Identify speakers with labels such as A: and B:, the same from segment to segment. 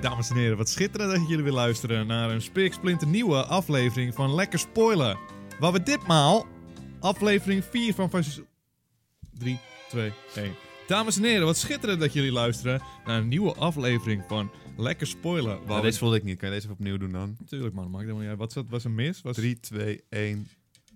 A: Dames en heren, wat schitterend dat jullie weer luisteren naar een spiksplinter nieuwe aflevering van Lekker Spoilen. Waar we ditmaal aflevering 4 van... 3, 2, 1. Dames en heren, wat schitterend dat jullie luisteren naar een nieuwe aflevering van Lekker Spoilen. Waar
B: Nou,
A: we...
B: deze voelde ik niet. Kan je deze even opnieuw doen dan?
A: Tuurlijk man, maakt helemaal niet uit. Wat zat- was een mis? Was...
B: 3, 2, 1.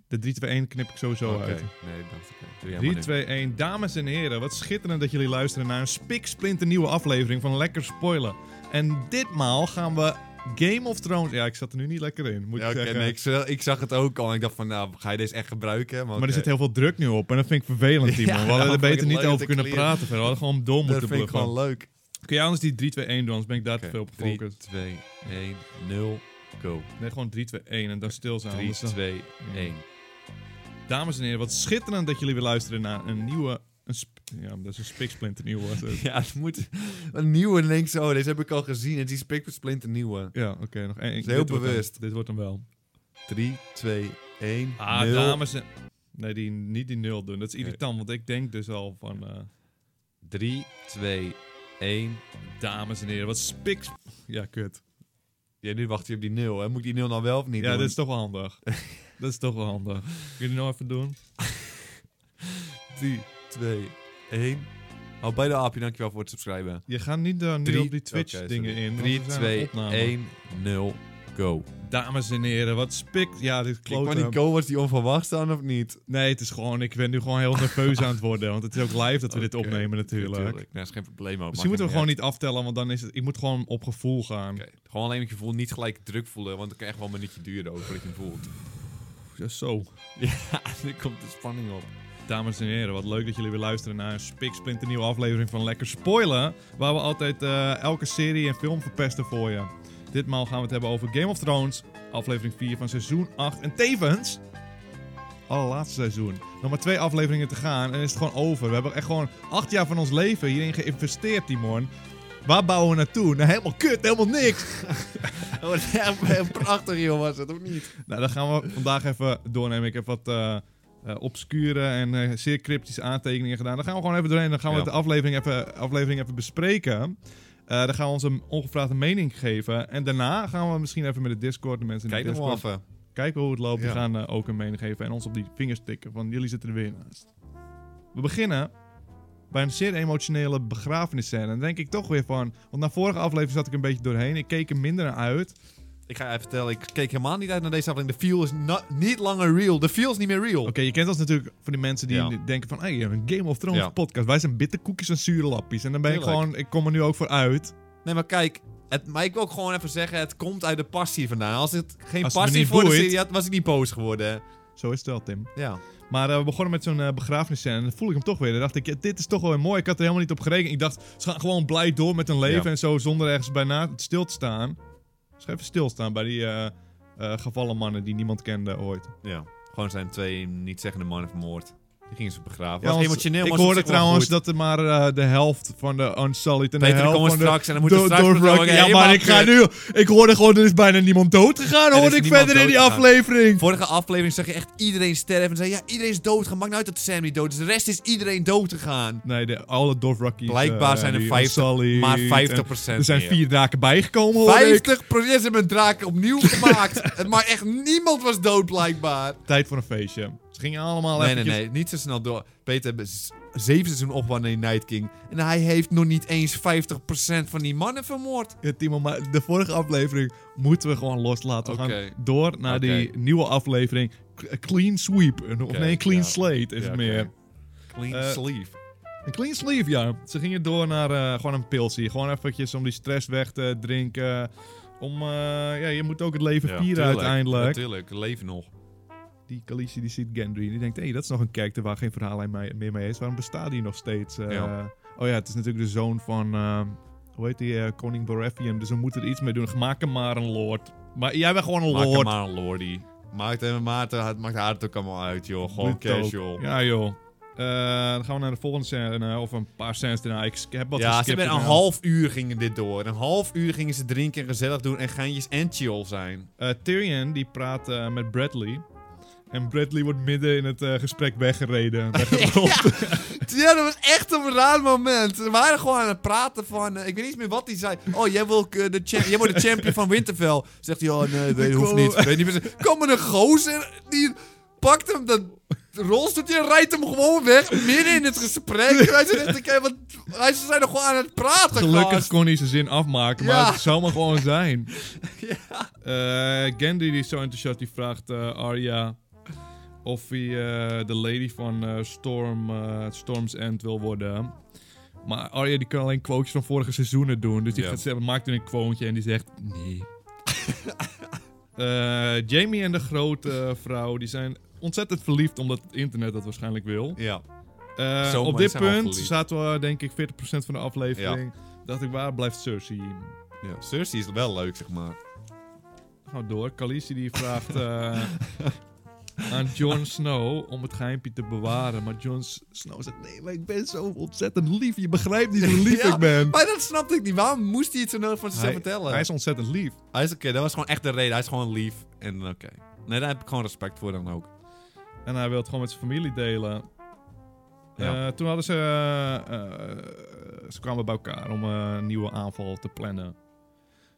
A: De 3, 2, 1 knip ik sowieso
B: Oké.
A: uit.
B: Nee, ik dacht oké. Doe jij
A: 3,
B: maar nu.
A: 2, 1. Dames en heren, wat schitterend dat jullie luisteren naar een spiksplinter nieuwe aflevering van Lekker Spoilen. En ditmaal gaan we Game of Thrones... Ja, ik zat er nu niet lekker in, moet
B: Ja,
A: ik
B: oké,
A: zeggen.
B: nee, ik, zag- ik zag het ook al en ik dacht van, nou, ga je deze echt gebruiken? eh,
A: Maar er zit heel veel druk nu op en dat vind ik vervelend, Timo.
B: Ja,
A: we hadden
B: nou,
A: er
B: vond ik
A: beter
B: het
A: niet
B: leuk
A: over
B: dat ik
A: kunnen
B: clear-
A: praten. verder. We hadden gewoon dom
B: Dat
A: moeten
B: vind ik
A: bluffen.
B: gewoon leuk.
A: Kun jij anders die 3, 2, 1 doen, anders ben ik daar te veel op
B: 3,
A: gefocust.
B: 2, 1, 0, go.
A: Nee, gewoon 3, 2, 1 en dan stil zijn.
B: 3,
A: anders dan-
B: 2, 1.
A: Dames en heren, wat schitterend dat jullie weer luisteren naar een nieuwe... Een sp- ja, dat is een spiksplinter nieuwe. was het.
B: Ja, het moet een nieuwe links. Oh, deze heb ik al gezien. Het is die spikversplinter nieuwe.
A: Ja, oké, nog één.
B: is heel
A: dit wordt hem.
B: bewust.
A: dit wordt hem wel.
B: 3, 2, 1,
A: Ah,
B: 0.
A: dames en... Nee, die, niet die nul doen. Dat is irritant, want ik denk dus al van... eh,
B: 3, 2, 1.
A: dames en heren, wat spik... Ja, kut.
B: Ja, nu wacht je op die 0. Hè? Moet ik die 0 nou wel of niet
A: Ja, dus-
B: doen?
A: dat is toch wel handig. dat is toch wel handig. Kun je die nou even doen?
B: 3, 2, 1. Hou bij de aapje, dankjewel voor het subscriben.
A: Je gaat niet daar nu op die Twitch dingen in.
B: 3, 2,
A: 1.
B: 1, 0, go.
A: Dames en heren, wat spik... Ja, dit
B: Klik maar
A: klopt.
B: die go was die onverwacht dan of niet?
A: Nee, het is gewoon... Ik ben nu gewoon heel nerveus aan het worden. Want het is ook live dat we dit opnemen natuurlijk.
B: Nee, dat is geen probleem ook.
A: Misschien moeten we gewoon niet aftellen, want dan is het... Ik moet gewoon op gevoel gaan.
B: Gewoon alleen dat je voelt, niet gelijk druk voelen, want het kan echt wel een minuutje duren ook voordat je hem voelt.
A: Ja, zo.
B: Ja, nu komt de spanning op.
A: Dames en heren, wat leuk dat jullie weer luisteren naar een spiksplinter nieuwe aflevering van Lekker Spoilen. Waar we altijd eh, elke serie en film verpesten voor je. Ditmaal gaan we het hebben over Game of Thrones, aflevering 4 van seizoen 8. En tevens, allerlaatste seizoen. Nog maar twee afleveringen te gaan en is het gewoon over. We hebben echt gewoon acht jaar van ons leven hierin geïnvesteerd, Timon. Waar bouwen we naartoe? Nou, helemaal kut, helemaal niks.
B: Oh, prachtig joh was het, of niet?
A: nou, dan gaan we vandaag even doornemen. Ik heb wat... eh, eh, obscure en eh, zeer cryptische aantekeningen gedaan. Daar gaan we gewoon even doorheen. Dan gaan we
B: Ja.
A: de aflevering even, aflevering even bespreken. Eh dan gaan we onze ongevraagde mening geven. En daarna gaan we misschien even met de Discord, de mensen in
B: Kijk
A: de
B: nog wel
A: Discord,
B: even.
A: kijken hoe het loopt.
B: Ja.
A: Die gaan eh, ook een mening geven en ons op die vingers tikken. Van jullie zitten er weer naast. We beginnen bij een zeer emotionele begrafenisscène. En dan denk ik toch weer van... Want na vorige aflevering zat ik een beetje doorheen. Ik keek er minder naar uit.
B: Ik ga even vertellen, ik keek helemaal niet uit naar deze aflevering. De feel is no- niet langer real. De feel is niet meer real.
A: Oké, je kent ons natuurlijk van die mensen die
B: Ja.
A: denken van... Hey, een Game of Thrones
B: Ja.
A: podcast. Wij zijn bitterkoekjes en zure lappies. En dan ben ik
B: Tuurlijk.
A: gewoon... Ik kom er nu ook voor uit.
B: Nee, maar kijk. Het, maar ik wil ook gewoon even zeggen, het komt uit de passie vandaan. Als het geen
A: Als het me
B: passie
A: niet
B: voor de
A: boeit.
B: serie had, was ik niet boos geworden.
A: Zo is het wel, Tim.
B: Ja.
A: Maar eh, we begonnen met zo'n eh begrafenisscène. En dan voel ik hem toch weer. Dan dacht ik, ja, dit is toch wel weer mooi. Ik had er helemaal niet op gerekend. Ik dacht, ze gaan gewoon blij door met hun leven.
B: Ja.
A: En zo zonder ergens bij na stil te staan. Dus ga even stilstaan bij die eh, eh, gevallen mannen die niemand kende ooit.
B: ja. Gewoon zijn twee niet-zeggende mannen vermoord. Die gingen ze begraven.
A: Ja,
B: was
A: want
B: emotioneel,
A: Ik
B: maar was op
A: hoorde
B: zich wel
A: trouwens
B: goed.
A: dat er maar eh, de helft van de Unsullied en de
B: Peter,
A: helft
B: kom eens
A: van de...
B: straks en dan moeten we
A: Do-
B: straks...
A: Dorf
B: met elkaar
A: Rock- ja,
B: helemaal
A: maar ik ga
B: kut.
A: nu... Ik hoorde gewoon, er is bijna niemand dood gegaan,
B: is
A: hoorde ik
B: niemand
A: verder in die
B: doodgegaan.
A: aflevering.
B: Vorige aflevering zag je echt iedereen sterven. En zei, ja, iedereen is doodgegaan. Maakt nou uit dat Sam niet dood is. De rest is iedereen dood gegaan.
A: Nee, de, alle Dorf Rockies. eh,
B: Blijkbaar zijn er 50, maar 50%
A: Er zijn
B: meer.
A: vier daken bijgekomen, hoor ik.
B: 50 procent hebben een draak opnieuw gemaakt. Het- maar echt niemand was dood blijkbaar.
A: Tijd voor een feestje. Ze gingen allemaal
B: Nee, nee,
A: eventjes...
B: nee. Niet zo snel door. Peter heeft z- zeven seizoenen opgewonnen in Night King. En hij heeft nog niet eens 50% van die mannen vermoord.
A: Ja, Timo, maar de vorige aflevering moeten we gewoon loslaten. We
B: Oké.
A: gaan door naar
B: Oké.
A: die nieuwe aflevering. K- Clean Sweep. Of
B: Oké,
A: nee, Clean
B: ja.
A: Slate is
B: Ja,
A: het
B: oké.
A: meer.
B: Clean
A: Eh,
B: sleeve.
A: Een clean sleeve, ja. Ze gingen door naar eh, gewoon een pilsie. Gewoon eventjes om die stress weg te drinken. Om, eh, ja, je moet ook het leven vieren uiteindelijk.
B: Natuurlijk, leven nog.
A: Die Khaleesi die ziet Gendry en die denkt... Hé, dat is nog een character waar geen verhaallijn mee- meer mee is. Waarom bestaat die nog steeds? eh?
B: Ja.
A: Oh ja, het is natuurlijk de zoon van... ehm, hoe heet die? eh, koning Baratheon. Dus we moeten er iets mee doen. Maak hem maar een lord. Maar jij bent gewoon een
B: Maak hem
A: lord.
B: maar een lordy. Maakt hem maar, het maakt haar het ook allemaal uit, joh. Gewoon
A: Doet het ook.
B: casual.
A: Ja, joh. Eh, dan gaan we naar de volgende scène. eh, Of een paar scènes daarna. Ik sk- heb wat
B: Ja, ze
A: geskipt
B: hebben een
A: gedaan.
B: half uur gingen dit door. Een half uur gingen ze drinken en gezellig doen en geintjes en chill zijn.
A: Eh, Tyrion die praat eh, met Bradley. En Bradley wordt midden in het eh, gesprek weggereden. Weggerold.
B: Ja, dat was echt een raar moment. We waren gewoon aan het praten van... eh, ik weet niet meer wat hij zei. Oh, jij, wil, eh, de champ- jij wordt de champion van Winterfell. Zegt hij, oh nee, weet, hoeft niet. Weet niet meer. Kom maar een gozer, die pakt hem dat rolstoeltje en rijdt hem gewoon weg. Midden in het gesprek. Hij zegt, echt, oké, wat, hij ze zijn nog gewoon aan het praten,
A: Gelukkig
B: gast.
A: kon hij zijn zin afmaken, maar
B: Ja.
A: het zou maar gewoon zijn. Eh, Gendry die is zo enthousiast, die vraagt eh, Arya of hij eh, de lady van eh, Storm, eh, Storm's End wil worden. Maar Arya die kan alleen quotes van vorige seizoenen doen, dus die
B: Ja.
A: gaat zeggen- maakt er een quoteje en die zegt nee. Eh, Jamie en de grote vrouw die zijn ontzettend verliefd omdat het internet dat waarschijnlijk wil.
B: Ja.
A: Eh,
B: Zo,
A: op
B: maar
A: dit
B: zijn we al
A: punt
B: verliefd.
A: zaten we denk ik 40% van de aflevering. Dacht ik, waar blijft Cersei?
B: ja. Cersei is wel leuk, zeg maar.
A: Gaan we door. Khaleesi die vraagt eh, aan Jon Snow om het geimpje te bewaren. Maar Jon S- Snow zegt, nee, maar ik ben zo ontzettend lief. Je begrijpt niet hoe lief
B: Ja,
A: ik ben.
B: Maar dat snapte ik niet. Waarom moest hij het zo nodig van zichzelf
A: Hij,
B: vertellen?
A: hij is ontzettend lief.
B: Hij is oké, dat was gewoon echt de reden. Hij is gewoon lief en oké. Nee, daar heb ik gewoon respect voor dan ook.
A: En hij wil het gewoon met zijn familie delen.
B: Ja.
A: Eh, toen hadden ze... eh, eh, ze kwamen bij elkaar om eh, een nieuwe aanval te plannen.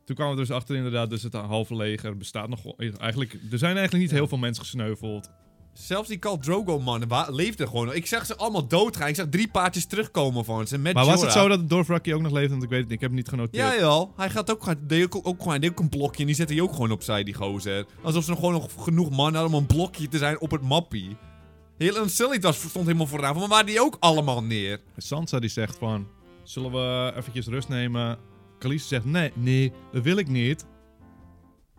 A: Toen kwamen we dus achter inderdaad, dus het halve leger bestaat nog... wel- Eigenlijk, er zijn eigenlijk niet heel veel mensen gesneuveld.
B: Zelfs die Khal Drogo mannen wa- leefden gewoon. nog. Ik zag ze allemaal doodgaan. Ik zag drie paardjes terugkomen van ze met
A: Maar was het
B: Jorah.
A: zo dat Dorf Raki ook nog leefde? Want ik weet het niet, ik heb het niet genoteerd.
B: Ja, jawel. Hij gaat ook, gewoon- deed ook, ook gewoon, hij deed ook een blokje en die zette hij ook gewoon opzij, die gozer. Alsof ze nog gewoon nog genoeg mannen hadden om een blokje te zijn op het mappie. Heel Unsullied was stond helemaal vooraan, maar waren die ook allemaal neer?
A: Sansa die zegt van, zullen we eventjes rust nemen? Khaleesi zegt, nee, nee, dat wil ik niet.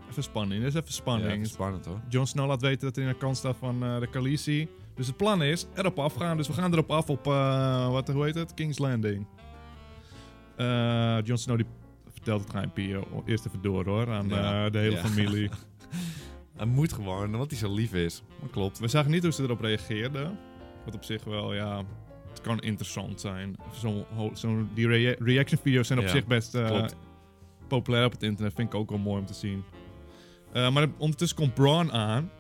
A: Even spanning, dat is even
B: Ja,
A: spanning.
B: dat is spannend hoor.
A: Jon Snow laat weten dat hij in de kant staat van eh, de Khaleesi. Dus het plan is erop afgaan. Dus we gaan erop af op, eh, wat, hoe heet het? King's Landing. Eh Jon Snow die vertelt het geimpje eh, eerst even door hoor, aan
B: Ja.
A: eh, de hele
B: Ja.
A: familie.
B: Hij moet gewoon, omdat hij zo lief is. Dat klopt.
A: We zagen niet hoe ze erop reageerden. Wat op zich wel, ja, het kan interessant zijn. Zo'n, ho- zo'n- die rea- reaction video's zijn op
B: Ja,
A: zich best eh,
B: klopt.
A: populair op het internet. Vind ik ook wel mooi om te zien. Eh, maar ondertussen komt Braun aan.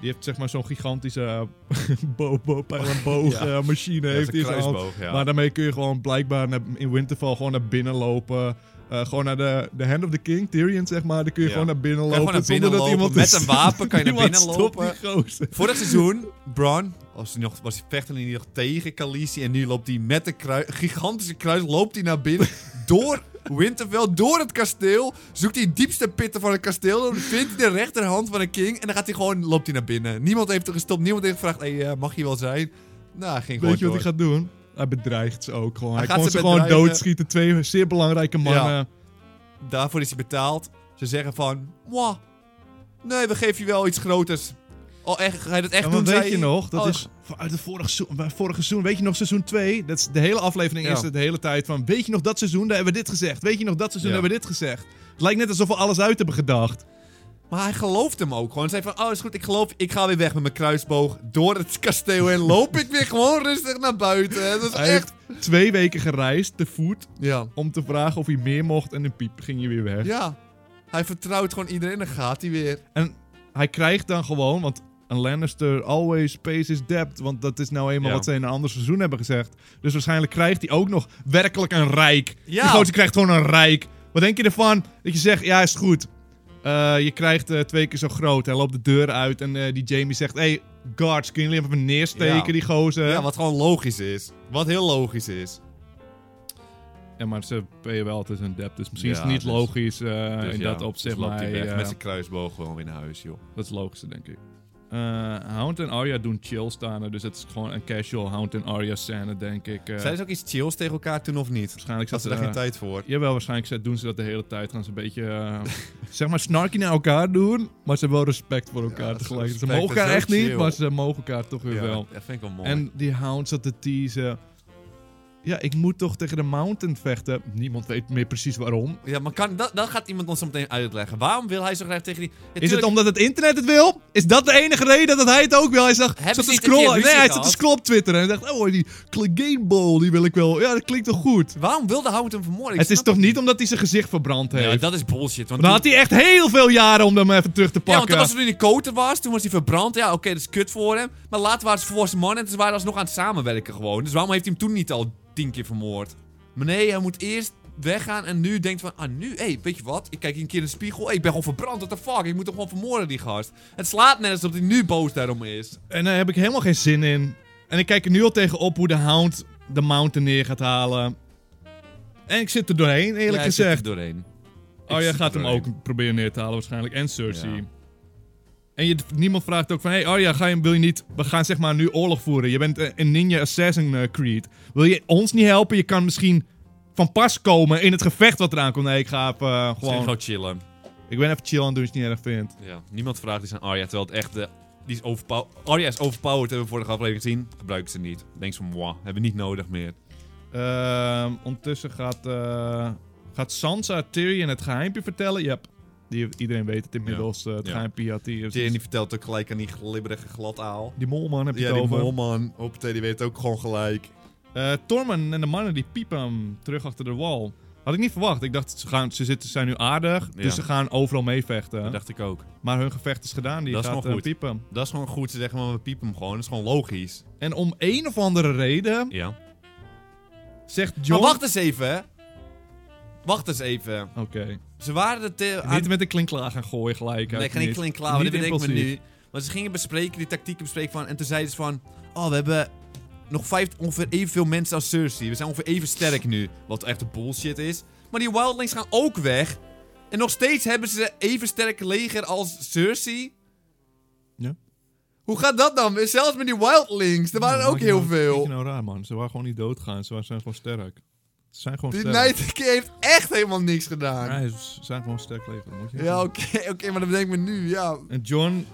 A: Die heeft zeg maar zo'n gigantische boog-machine.
B: Ja.
A: eh, machine
B: Ja,
A: heeft
B: zijn
A: hij in zijn hand.
B: kruisboog, ja.
A: Maar daarmee kun je gewoon blijkbaar naar- in Winterfell gewoon naar binnen lopen. Eh, gewoon naar de, de Hand of the King, Tyrion zeg maar. Dan kun je
B: Ja.
A: gewoon naar binnen
B: Kan
A: lopen.
B: je gewoon naar binnen
A: zonder dat iemand
B: lopen. Met
A: is-
B: een wapen kan je naar
A: Niemand
B: binnen
A: stopt
B: lopen.
A: die gozer.
B: Vorig seizoen, Braun, was hij, nog, was hij vechtende niet nog tegen Khaleesi. En nu loopt hij met de krui- gigantische kruis loopt hij naar binnen. door Winterfell, door het kasteel. Zoekt hij de diepste pitten van het kasteel. Dan vindt hij de rechterhand van een king. En dan gaat hij gewoon, loopt hij naar binnen. Niemand heeft er gestopt. Niemand heeft gevraagd, hey, eh, mag je wel zijn? Nou, hij ging
A: Weet je
B: gewoon
A: wat hij
B: door.
A: gaat doen? Hij bedreigt ze ook gewoon. Hij,
B: Hij gaat
A: kon
B: ze
A: ze gewoon
B: bedreigen.
A: doodschieten. Twee zeer belangrijke mannen.
B: Daarvoor is hij betaald. Ze zeggen van, "Mwah, nee, we geven je wel iets groters. Oh, echt, ga je dat echt
A: En
B: doen?
A: wat weet
B: zei
A: je
B: hij.
A: nog? Dat
B: Oh,
A: is uit het vorige, seizoen- bij vorige seizoen. Weet je nog seizoen 2? Dat is de hele aflevering
B: Ja.
A: is het de hele tijd van... Weet je nog dat seizoen? Daar hebben we dit gezegd. Weet je nog dat seizoen?
B: Ja.
A: Daar hebben we dit gezegd. Het lijkt net alsof we alles uit hebben gedacht.
B: Maar hij gelooft hem ook gewoon. Hij zei van, oh is goed, ik geloof, ik ga weer weg met mijn kruisboog door het kasteel en loop ik weer gewoon rustig naar buiten. Dat is
A: Hij
B: echt...
A: heeft twee weken gereisd te voet
B: Ja.
A: om te vragen of hij meer mocht. En in piep ging hij weer weg.
B: Ja. Hij vertrouwt gewoon iedereen en gaat hij weer.
A: En hij krijgt dan gewoon, want een Lannister always pays his debt. Want dat is nou eenmaal
B: Ja.
A: wat ze in een ander seizoen hebben gezegd. Dus waarschijnlijk krijgt hij ook nog werkelijk een rijk.
B: Ja.
A: Die gozer krijgt gewoon een rijk. Wat denk je ervan? Dat je zegt, ja is goed. Eh, je krijgt eh, twee keer zo groot. Hij loopt de deur uit en eh, die Jamie zegt... hey, guards, kunnen jullie hem even neersteken,
B: Ja.
A: die gozer?
B: Ja, wat gewoon logisch is. Wat heel logisch is.
A: Ja, maar ze payen wel altijd hun debt. Dus misschien is het
B: Ja,
A: niet
B: dus-
A: logisch eh,
B: Dus
A: in
B: ja,
A: dat opzicht.
B: dus loopt hij
A: maar
B: weg
A: hij, eh,
B: met zijn kruisboog gewoon weer naar huis, joh.
A: Dat is het logische, denk ik. Eh, Hound en Arya doen chill staan. Dus het is gewoon een casual Hound en Arya scène, denk ik. Eh,
B: Zijn ze ook iets chills tegen elkaar toen of niet?
A: waarschijnlijk
B: Zat ze
A: zitten
B: daar geen
A: eh,
B: tijd voor?
A: Jawel, waarschijnlijk ze- doen ze dat de hele tijd. Gaan ze een beetje, eh, zeg maar, snarky naar elkaar doen. Maar ze hebben wel respect voor elkaar
B: dat is
A: tegelijk. Ze
B: respect,
A: mogen
B: dat
A: elkaar
B: is
A: echt
B: heel
A: niet,
B: chill.
A: maar ze mogen elkaar toch weer wel.
B: dat vind ik wel mooi.
A: En die Hound zat te teasen. ja, ik moet toch tegen de mountain vechten. Niemand weet meer precies waarom.
B: Ja, maar kan, dat, dat gaat iemand ons zo meteen uitleggen. Waarom wil hij zo graag tegen die... Ja,
A: Is het
B: tuurlijk-
A: omdat het internet het wil? Is dat de enige reden dat hij het ook wil? Hij zag,
B: Hebben
A: zat te
B: ze niet een keer
A: scrollen. Nee,
B: ruzie
A: hij zat te
B: gehad?
A: scrollen op Twitter. En hij dacht, oh, die Gameball, die wil ik wel. Ja, dat klinkt toch goed?
B: Waarom wilde Howard hem vermoorden? Ik
A: het is
B: snap
A: toch niet omdat hij zijn gezicht verbrand heeft?
B: Ja, dat is bullshit. Want
A: Dan
B: toen-
A: had hij echt heel veel jaren om hem even terug te
B: Ja, want
A: pakken.
B: toen was toen in de koten was, toen was hij verbrand. Ja, oké, dat is kut voor hem. Maar later waren ze volwassen mannen en ze waren alsnog aan het samenwerken gewoon. Dus waarom heeft hij hem toen niet al tien keer vermoord? Maar nee, hij moet eerst weggaan en nu denkt van... Ah, nu, hé, hey, weet je wat? Ik kijk een keer in de spiegel. Hey, ik ben gewoon verbrand, what the fuck? Ik moet hem gewoon vermoorden, die gast. Het slaat nergens op dat hij nu boos daarom is.
A: En daar heb ik helemaal geen zin in. En ik kijk er nu al tegenop hoe de Hound de Mountain neer gaat halen. En ik zit er doorheen, eerlijk
B: Ja, hij zit er
A: gezegd.
B: doorheen.
A: Oh, jij
B: zit er
A: gaat hem
B: doorheen.
A: ook proberen neer te halen waarschijnlijk. En Cersei.
B: Ja.
A: En je, niemand vraagt ook van, hey Arya, ga je, wil je niet, we gaan zeg maar nu oorlog voeren. Je bent eh, een ninja assassin eh, creed. Wil je ons niet helpen? Je kan misschien van pas komen in het gevecht wat eraan komt. Nee, ik ga even, eh,
B: Misschien
A: gewoon,
B: gewoon chillen.
A: ik ben even chill aan het doen als je het niet erg vindt.
B: Ja, niemand vraagt iets aan Arya, terwijl het echt... eh, die is overpowered. Arya is overpowered, hebben we vorige aflevering gezien. Gebruiken ze niet. Denk van, moi, hebben we niet nodig meer.
A: Ehm, ondertussen gaat, eh, gaat Sansa Tyrion het geheimpje vertellen. Yep. Die, iedereen weet het inmiddels. eh, het
B: Ja.
A: geheimpje had die,
B: Tyrion vertelt ook gelijk aan die glibberige gladaal.
A: die molman heb je
B: Ja,
A: het
B: die
A: over.
B: molman. Hoppatee, die weet ook gewoon gelijk.
A: Eh, Tormund en de mannen die piepen hem terug achter de wal. Had ik niet verwacht. Ik dacht, ze, gaan, ze zitten, zijn nu aardig,
B: Ja.
A: dus ze gaan overal meevechten.
B: Dat dacht ik ook.
A: Maar hun gevecht is gedaan, die
B: Dat is
A: gaat
B: nog
A: eh,
B: goed.
A: piepen.
B: Dat is gewoon goed. Ze zeggen, maar we piepen hem gewoon. Dat is gewoon logisch.
A: En om een of andere reden
B: Ja.
A: zegt
B: Maar
A: John...
B: wacht eens even, hè. Wacht eens even.
A: Oké.
B: Ze waren het... eh, aan-
A: Niet met een klinklaar gaan gooien gelijk.
B: Nee, ik ga niet klink klaar, maar
A: Niet
B: dit bedenk ik me
A: impulsief.
B: nu. Maar ze gingen bespreken, die tactieken bespreken van... En toen zeiden ze van... Oh, we hebben nog vijf, ongeveer evenveel mensen als Cersei. We zijn ongeveer even sterk nu. Wat echt bullshit is. Maar die wildlings gaan ook weg. En nog steeds hebben ze even sterk leger als Cersei.
A: Ja.
B: Hoe gaat dat dan? Zelfs met die wildlings. Er waren
A: Ja,
B: ook
A: maak je
B: heel
A: nou-
B: veel.
A: maak je nou raar, man. Ze waren gewoon niet doodgaan. Ze waren- zijn gewoon sterk. Ze zijn gewoon
B: die
A: sterk.
B: Nightingale heeft echt helemaal niks gedaan.
A: Ja, ze zijn gewoon sterk leven. dat Moet je
B: Ja, oké, oké, maar dat bedenk ik me nu, ja.
A: En John,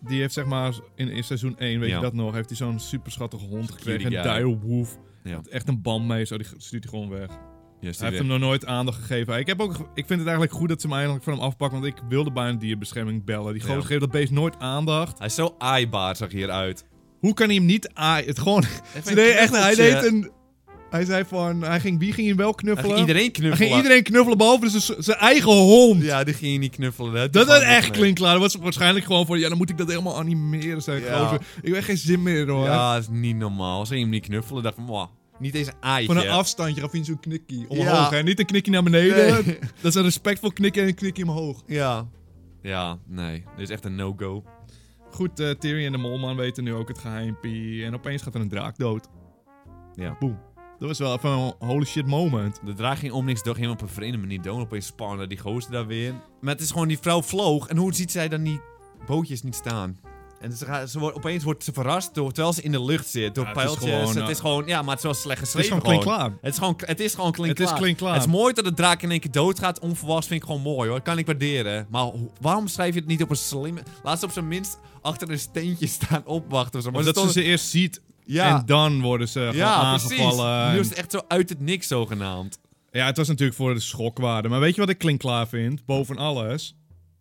A: die heeft zeg maar in, in seizoen 1, weet
B: Ja.
A: je dat nog, heeft hij zo'n super schattige hond gekregen.
B: guy.
A: Een direwolf.
B: Ja.
A: Echt een band mee, zo. Die stuurt hij gewoon weg.
B: Yes,
A: Hij heeft hem nog nooit aandacht gegeven. Ik, heb ook, ik vind het eigenlijk goed dat ze hem eindelijk van hem afpakken, want ik wilde bij een dierbescherming bellen. Die gozer
B: Ja.
A: geeft dat beest nooit aandacht.
B: Hij is zo aaibaar, zag hij eruit.
A: Hoe kan hij hem niet aaien? Het gewoon... Ze
B: een
A: deed echt, hij
B: knuffeltje.
A: deed een... Hij zei van, hij ging, wie ging hem wel
B: Hij
A: knuffelen?
B: ging iedereen
A: Dan
B: knuffelen.
A: ging iedereen knuffelen, behalve dus z- zijn eigen hond.
B: Ja, die ging je niet knuffelen. hè. Die
A: Dat is
B: gewoon
A: echt
B: niet mee.
A: klinkklaar. Dat was waarschijnlijk gewoon voor... Ja, dan moet ik dat helemaal animeren, zei ik
B: Ja.
A: gozer. Ik heb echt geen zin meer, hoor.
B: Ja, dat is niet normaal. Ze ging hem niet knuffelen. dacht van, mwah, niet eens een aaitje.
A: Van een afstandje gaf hij zo'n knikkie omhoog.
B: Ja.
A: Hè? Niet een knikkie naar beneden.
B: Nee.
A: Dat is een respectvol knikkie en een knikkie omhoog.
B: Ja. Ja, nee. Dit is echt een no-go.
A: Goed, eh Tyrion en de Molman weten nu ook het geheimpie. En opeens gaat er een draak dood.
B: Ja.
A: Boem. Dat was wel even een holy shit moment.
B: De draag ging om niks door, ging op een vreemde manier dood. Opeens spannen die gozer daar weer. Maar het is gewoon, die vrouw vloog. En hoe ziet zij dan die bootjes niet staan? En ze gaat, ze wordt, opeens wordt ze verrast door, terwijl ze in de lucht zit. Door
A: Ja, het is
B: pijltjes.
A: gewoon,
B: het
A: eh,
B: is gewoon, ja, maar het is wel slecht
A: Het is
B: geschreven
A: gewoon klinkklaar.
B: Het is gewoon, het is gewoon
A: Het
B: klinkklaar.
A: is klinkklaar.
B: Het is mooi dat de draak in één keer doodgaat, onverwachts, vind ik gewoon mooi hoor. Kan ik waarderen. Maar ho- waarom schrijf je het niet op een slimme... Laat ze op zijn minst achter een steentje staan opwachten. Of zo. Maar
A: Omdat ze
B: stonden-
A: ze eerst ziet
B: Ja.
A: en dan worden ze gewoon
B: ja,
A: aangevallen.
B: precies.
A: en-
B: Nu is het echt zo uit het niks zogenaamd.
A: Ja, het was natuurlijk voor de schokwaarde. Maar weet je wat ik klinkklaar vind? Boven alles.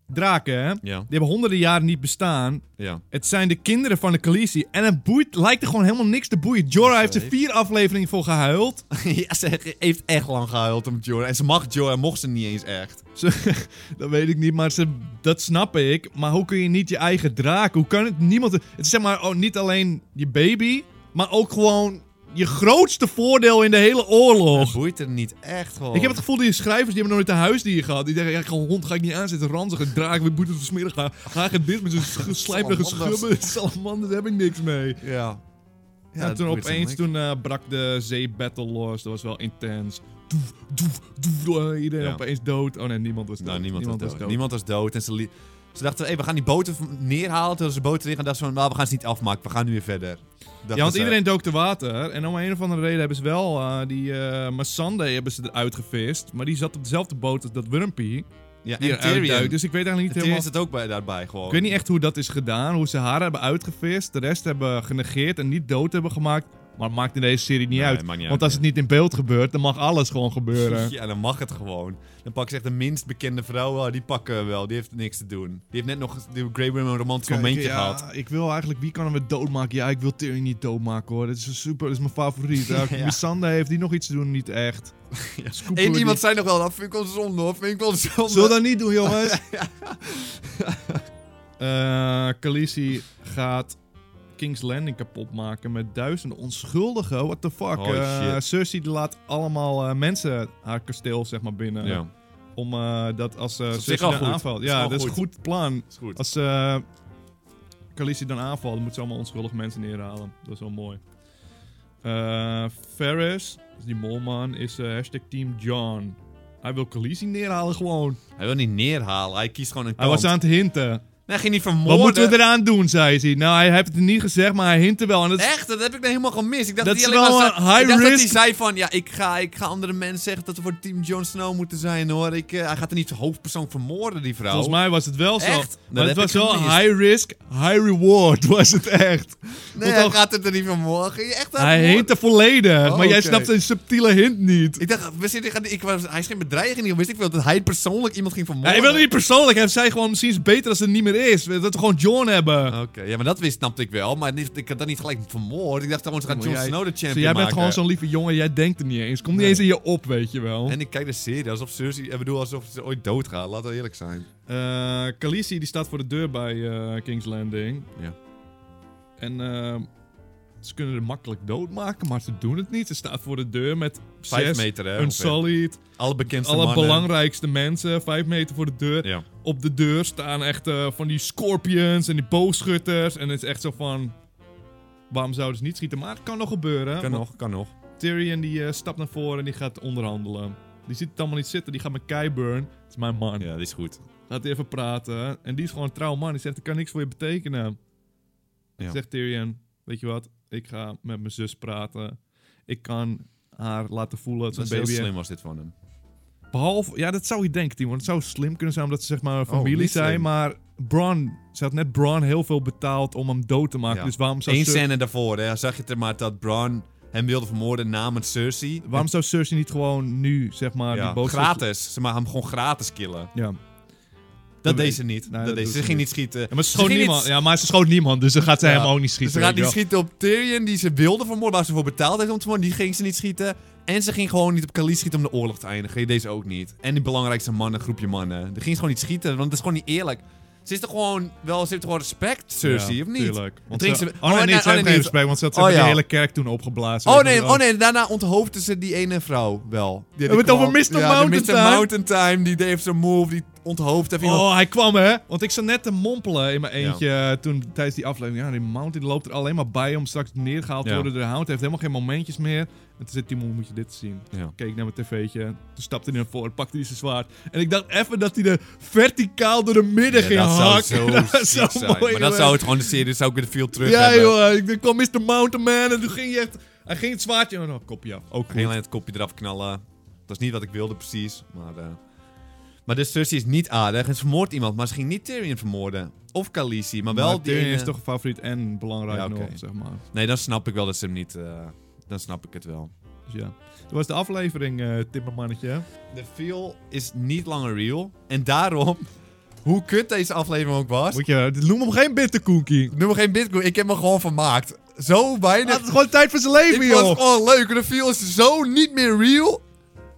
A: Draken, hè? Die
B: Ja,
A: hebben honderden jaren niet bestaan.
B: ja.
A: Het zijn de kinderen van de Khaleesi. En het boeit, lijkt er gewoon helemaal niks te boeien. Jorah heeft er
B: heeft-
A: vier afleveringen voor gehuild.
B: ja, ze heeft echt lang gehuild om Jorah. En ze mag Jorah, mocht ze niet eens echt.
A: Ze- dat weet ik niet, maar ze, dat snap ik. Maar hoe kun je niet je eigen draak? Hoe kan het niemand... Het is zeg maar oh, niet alleen je baby, maar ook gewoon je grootste voordeel in de hele oorlog.
B: Het boeit er niet echt gewoon.
A: Ik heb het gevoel dat die schrijvers, die hebben nog nooit een huisdier gehad. Die denken, ja, ik ga een hond ga ik niet aanzetten, ranzige draak, we moeten het smerig gaan. Ga ik dit met zo'n sch- slijmerige
B: Salamanders.
A: schubben, salamanders, daar heb ik niks mee.
B: Ja. Ja,
A: en
B: het
A: toen
B: boeit ze
A: opeens,
B: niks.
A: toen eh, brak de zeebattle los, dat was wel intens. Doef, doef, doef, eh, iedereen
B: Ja.
A: opeens dood. Oh nee, niemand was dood.
B: Nou, niemand, was dood. Niemand was dood. En ze, li- ze dachten, hey, we gaan die boten v- neerhalen. Terwijl ze de boten liggen. En dachten ze van, nou, we gaan ze niet afmaken. We gaan nu weer verder. Dachten
A: Ja, want
B: ze.
A: iedereen dook te water. En om een of andere reden hebben ze wel eh, die eh Masande hebben ze eruit gevist. Maar die zat op dezelfde boot als dat Wurmpie.
B: Ja,
A: Die
B: en
A: eruit
B: Tyrion.
A: duikt. Dus ik weet eigenlijk niet
B: En Tyrion
A: helemaal...
B: zit ook bij, daarbij gewoon.
A: Ik weet niet echt hoe dat is gedaan, hoe ze haar hebben uitgevist, de rest hebben genegeerd en niet dood hebben gemaakt. Maar het maakt in deze serie niet
B: Nee,
A: uit.
B: het maakt niet
A: want
B: uit,
A: als het niet in beeld gebeurt, dan mag alles gewoon gebeuren.
B: Ja, dan mag het gewoon. Dan pak ze echt de minst bekende vrouw. Oh, die pakken we wel. Die heeft niks te doen. Die heeft net nog die Grey Worm een romantisch
A: Kijk,
B: momentje
A: ja,
B: gehad.
A: Ik wil eigenlijk, wie kan hem weer doodmaken? Ja, ik wil Tyrion niet doodmaken hoor. Dat is een super, dat is mijn favoriet. Ja,
B: Ja.
A: Missandei heeft die nog iets te doen? Niet echt. Scooper
B: Eén
A: die-
B: iemand zei nog wel, dat vind ik wel zonde hoor. Vind ik wel zonde.
A: Zullen we dat niet doen, jongens? Eh Khaleesi gaat King's Landing kapot maken met duizenden onschuldigen. What the fuck?
B: Oh,
A: Eh,
B: shit.
A: Cersei die laat allemaal eh, mensen haar kasteel zeg maar binnen.
B: Ja,
A: Om eh, dat als eh
B: is op zich
A: Cersei
B: al
A: dan
B: goed.
A: aanvalt.
B: Dat is
A: Ja,
B: al
A: dat is een
B: goed.
A: goed plan.
B: is goed.
A: Als eh Khaleesi dan aanvalt, moet ze allemaal onschuldige mensen neerhalen. Dat is wel mooi. Eh Ferris, dat is die molman, is eh, hashtag Team John. Hij wil Khaleesi neerhalen gewoon.
B: Hij wil niet neerhalen. Hij kiest gewoon een
A: Hij
B: kant.
A: was aan het hinten.
B: Nee, hij ging niet
A: Wat
B: vermoorden.
A: moeten we eraan doen, zei hij. Nou, hij heeft het niet gezegd, maar hij hintte wel. En dat is-
B: Echt? Dat heb ik nou helemaal gemist. Ik dacht
A: Dat
B: dat,
A: is
B: hij alleen
A: wel
B: maar
A: een
B: zei,
A: high
B: ik dacht dat hij
A: risk.
B: zei van... Ja, ik ga, ik ga andere mensen zeggen dat we voor Team Jon Snow moeten zijn hoor. Ik, eh, hij gaat er niet de hoofdpersoon vermoorden, die vrouw.
A: volgens mij was het wel zo.
B: Echt?
A: Maar
B: Nou, Dat
A: het
B: heb
A: was
B: ik
A: wel
B: gemist.
A: high risk, high reward was het echt.
B: nee,
A: Want
B: hij
A: al-
B: gaat het er niet vermoorden. Ga je Echt aan
A: hij
B: vermoorden?
A: hintte volledig,
B: Oh,
A: maar jij
B: oké.
A: snapt een subtiele hint niet.
B: Ik dacht, we zitten, ik was, hij is geen bedreiging, ik wist ik veel dat hij persoonlijk iemand ging
A: Ja,
B: vermoorden.
A: ik wil het niet persoonlijk hebben. Zij gewoon misschien is het beter als het niet meer is. Dat we gewoon John hebben.
B: Oké, ja, maar dat wist, snapte ik wel, maar niet- ik had dat niet gelijk vermoord. Ik dacht gewoon, ze gaan
A: Maar
B: Jon
A: jij-
B: Snow de champion
A: Zo, jij bent
B: maken.
A: gewoon zo'n lieve jongen. Jij denkt er niet eens. Komt niet
B: Nee.
A: eens in je op, weet je wel.
B: En ik kijk de serie alsof Cersei, ik bedoel, alsof ze ooit doodgaat, laten we eerlijk zijn.
A: Eh Khaleesi die staat voor de deur bij eh, King's Landing.
B: Ja.
A: En eh, ze kunnen er makkelijk doodmaken, maar ze doen het niet. Ze staat voor de deur met
B: Vijf
A: zes,
B: meter, hè.
A: een
B: ongeveer.
A: solid,
B: Alle bekendste
A: alle
B: mannen.
A: belangrijkste mensen, vijf meter voor de deur.
B: Ja.
A: Op de deur staan echt eh, van die scorpions en die boogschutters. En het is echt zo van, waarom zouden ze niet schieten? Maar het kan nog gebeuren.
B: Kan
A: want
B: nog, kan nog.
A: Tyrion die eh, stapt naar voren en die gaat onderhandelen. Die ziet het allemaal niet zitten, die gaat met Kyburn. Dat is mijn man.
B: Ja, dat is goed.
A: Laat hij even praten. En die is gewoon een trouw man. Die zegt, ik kan niks voor je betekenen.
B: Ja.
A: Zegt Tyrion, weet je wat? Ik ga met mijn zus praten. Ik kan haar laten voelen dat
B: Dat is
A: ze een
B: heel
A: baby heeft.
B: slim was dit van hem.
A: Behalve, ja, dat zou je denken, Timon. Het zou slim kunnen zijn omdat ze zeg maar een
B: Oh,
A: familie
B: niet
A: zijn.
B: slim.
A: Maar Bron, ze had net Bron heel veel betaald om hem dood te maken.
B: Ja.
A: Dus waarom zou,
B: Eén
A: Cer-
B: scène daarvoor, hè, zag je het er maar dat Bran hem wilde vermoorden namens Cersei.
A: waarom zou Cersei niet gewoon nu, zeg maar,
B: Ja,
A: die boodschap...
B: gratis. Ze maar hem gewoon gratis killen.
A: Ja.
B: Dat
A: weet-
B: deed ze niet.
A: Nee,
B: dat
A: dat
B: deed
A: doet
B: ze.
A: ze
B: Ze ging niet schieten.
A: Ja, maar ze schoot
B: ging niet
A: niemand.
B: s-
A: Ja, maar ze schoot niemand, dus dan gaat zij
B: Ja.
A: hem ook niet
B: Dus
A: schieten.
B: ze gaat
A: weet
B: niet
A: je wel.
B: schieten op Tyrion, die ze wilde vermoorden, waar ze voor betaald heeft om te worden. Die ging ze niet schieten. En ze ging gewoon niet op Khaleesi schieten om de oorlog te eindigen. Deze ook niet. En die belangrijkste mannen, groepje mannen. Die ging ze gewoon niet schieten, want dat is gewoon niet eerlijk. Ze is toch gewoon wel, ze heeft toch gewoon respect, Cersei,
A: Ja,
B: of niet?
A: Tuurlijk. Want
B: drinkt
A: ze,
B: ze-
A: oh,
B: oh,
A: nee,
B: nee,
A: nee, ze
B: oh,
A: heeft
B: nee,
A: geen
B: nee.
A: respect, want ze had
B: Oh,
A: de
B: ja.
A: hele kerk toen opgeblazen.
B: Oh
A: Weet je
B: nee,
A: wel.
B: oh nee, daarna onthoofde ze die ene vrouw wel. Die,
A: Hebben we het
B: kwam-
A: over Mr.
B: Ja, die
A: Mountain Time?
B: Mr. Mountain Time, die deed zo'n move, die onthoofd heeft iemand.
A: Oh, hij kwam hè? Want ik zat net te mompelen in mijn eentje eh, toen tijdens die aflevering. Ja, die Mountain loopt er alleen maar bij om straks neergehaald te
B: Ja.
A: worden door de hound. Hij heeft helemaal geen momentjes meer. En toen zei Timo, moet je dit zien?
B: Ja.
A: Ik Keek naar mijn tv'tje. Toen stapte hij naar voren, pakte hij zijn zwaard. En ik dacht even dat hij er verticaal door de midden
B: Ja,
A: ging
B: dat
A: hakken.
B: zou zo ziek zijn. maar dat
A: geweest.
B: zou het gewoon de serie, zou ik weer veel terug
A: Ja
B: hebben.
A: joh, ik- er kwam Mr. Mountain Man en toen ging hij echt... Hij ging het zwaardje... Oh, nou, kopje af. Ook
B: Ik ging alleen het kopje eraf knallen. Dat is niet wat ik wilde precies, maar... eh. Maar de Cersei is niet aardig en ze vermoordt iemand, maar ze ging niet Tyrion vermoorden. Of Khaleesi, maar wel
A: Maar
B: die...
A: Tyrion
B: ene-
A: is toch een favoriet en belangrijk
B: Ja, oké.
A: nog, zeg maar.
B: Nee, dan snap ik wel dat ze hem niet... eh, dan snap ik het wel.
A: Dus ja. Dat was de aflevering, eh Timmermannetje. hè?
B: De feel is niet langer real. En daarom, hoe kut deze aflevering ook was...
A: Moet je... Noem hem geen bitterkoekie.
B: Noem me geen bitcoin, ik heb me gewoon vermaakt. Zo weinig...
A: Het is gewoon tijd voor zijn leven,
B: Ik Oh, vond het
A: joh.
B: gewoon leuk. En de feel is zo niet meer real.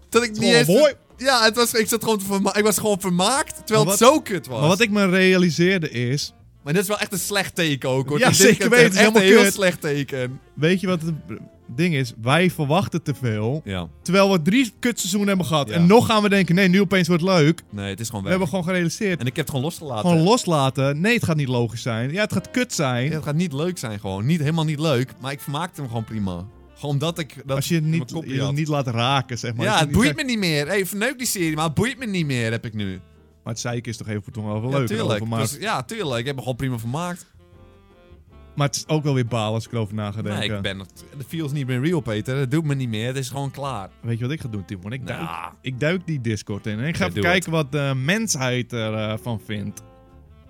B: Dat ik niet
A: gewoon
B: eens...
A: mooi.
B: Ja, het was, ik, zat gewoon te verma- ik was gewoon vermaakt. Terwijl
A: Maar
B: het zo kut was.
A: Maar wat ik me realiseerde is...
B: Maar dit is wel echt een slecht teken ook, hoor.
A: Ja,
B: Dit is
A: zeker
B: echt-
A: weten,
B: Echt een
A: helemaal
B: heel
A: kut.
B: slecht teken.
A: Weet je wat het b- ding is? Wij verwachten te veel.
B: Ja.
A: Terwijl we drie kutseizoenen hebben gehad.
B: Ja.
A: En nog gaan we denken, nee, nu opeens wordt het leuk.
B: Nee, het is gewoon
A: We
B: weg.
A: hebben gewoon gerealiseerd.
B: En ik heb het gewoon losgelaten.
A: Gewoon loslaten. Nee, het gaat niet logisch zijn. Ja, het gaat kut zijn.
B: Ja, het gaat niet leuk zijn gewoon. Niet, helemaal niet leuk. Maar ik vermaakte hem gewoon prima. Gewoon omdat ik... Dat
A: Als je het
B: mijn
A: niet,
B: kopje
A: je het
B: had.
A: niet laat raken, zeg maar.
B: Ja,
A: Als je
B: het
A: niet
B: boeit
A: zegt-
B: me niet meer. Hey, verneuk die serie, maar het boeit me niet meer, heb ik nu.
A: Maar het zeiken is toch even voor toen wel
B: Ja,
A: leuk.
B: tuurlijk.
A: erover, Maar,
B: Dus, ja, tuurlijk. Ik heb me gewoon prima vermaakt.
A: maar het is ook wel weer balen als ik erover na ga denken.
B: Nee, ik ben... het- De feels niet meer real, Peter. Dat doet me niet meer. Het is gewoon klaar.
A: Weet je wat ik ga doen, Timon? Ik duik,
B: Nou.
A: ik duik die Discord in en ik ga
B: Ja,
A: even
B: doe
A: kijken wat de mensheid ervan vindt.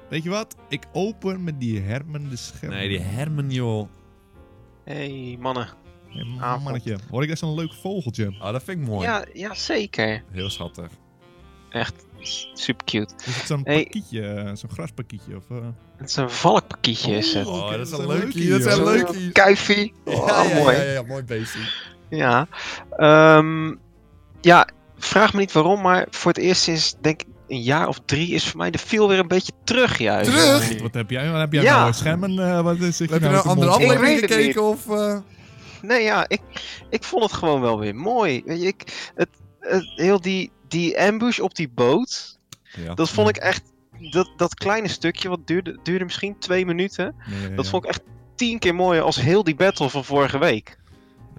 A: Weet je wat? Ik open met die Herman de Scherm.
B: Nee, die Herman, joh.
C: Hey mannen,
A: Hey, mannetje, hoor ik dat zo'n leuk vogeltje?
B: Oh, dat vind ik mooi.
C: Ja, ja, zeker.
B: Heel schattig.
C: Echt super cute.
A: Is het zo'n
C: Hey.
A: pakietje, eh, zo'n graspakietje? Of, eh?
C: Het is een valkpakietje is het.
B: Oh,
A: oké,
B: dat is
A: dat
B: een
A: is
B: leukie.
A: leukie,
B: Dat
A: joh.
B: zijn
C: Zo'n
B: leukie.
C: Kuifie. Oh,
B: Ja, ja,
C: mooi.
B: ja, ja, mooi beestje.
C: Ja. Ehm, ja, vraag me niet waarom, maar voor het eerst sinds denk ik een jaar of drie is voor mij de feel weer een beetje terug juist.
B: Terug?
A: Wat heb jij, wat heb jij
C: Ja.
A: nou? Schermen? eh, wat is
B: Heb je nou een andere
C: Ik
B: aflevering
C: weet het
B: gekeken of... eh,
C: Nee, ja, ik, ik vond het gewoon wel weer mooi. Weet je, ik, het, het, heel die, die ambush op die boot, dat vond ik echt... Dat, dat kleine stukje, wat duurde, duurde misschien twee minuten, dat vond ik echt tien keer mooier als heel die battle van vorige week.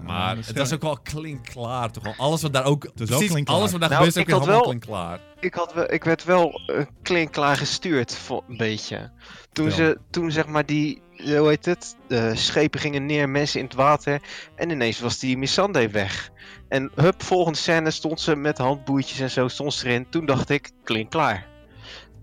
B: Maar het was ook wel klinkklaar toch wel. Alles wat daar ook...
A: is wel
B: precies,
A: klinkklaar.
B: alles wat daar
C: Nou,
B: gebeurt is ook
C: ik had
B: helemaal
C: wel-
B: klinkklaar.
C: Ik, had wel, ik werd wel eh, klinkklaar gestuurd, vo- een beetje. Toen,
A: Vertel.
C: ze, toen zeg maar die, eh, hoe heet het, de schepen gingen neer, mensen in het water. En ineens was die Missandei weg. En hup, volgende scène stond ze met handboertjes en zo, stond ze erin. Toen dacht ik, klinkklaar.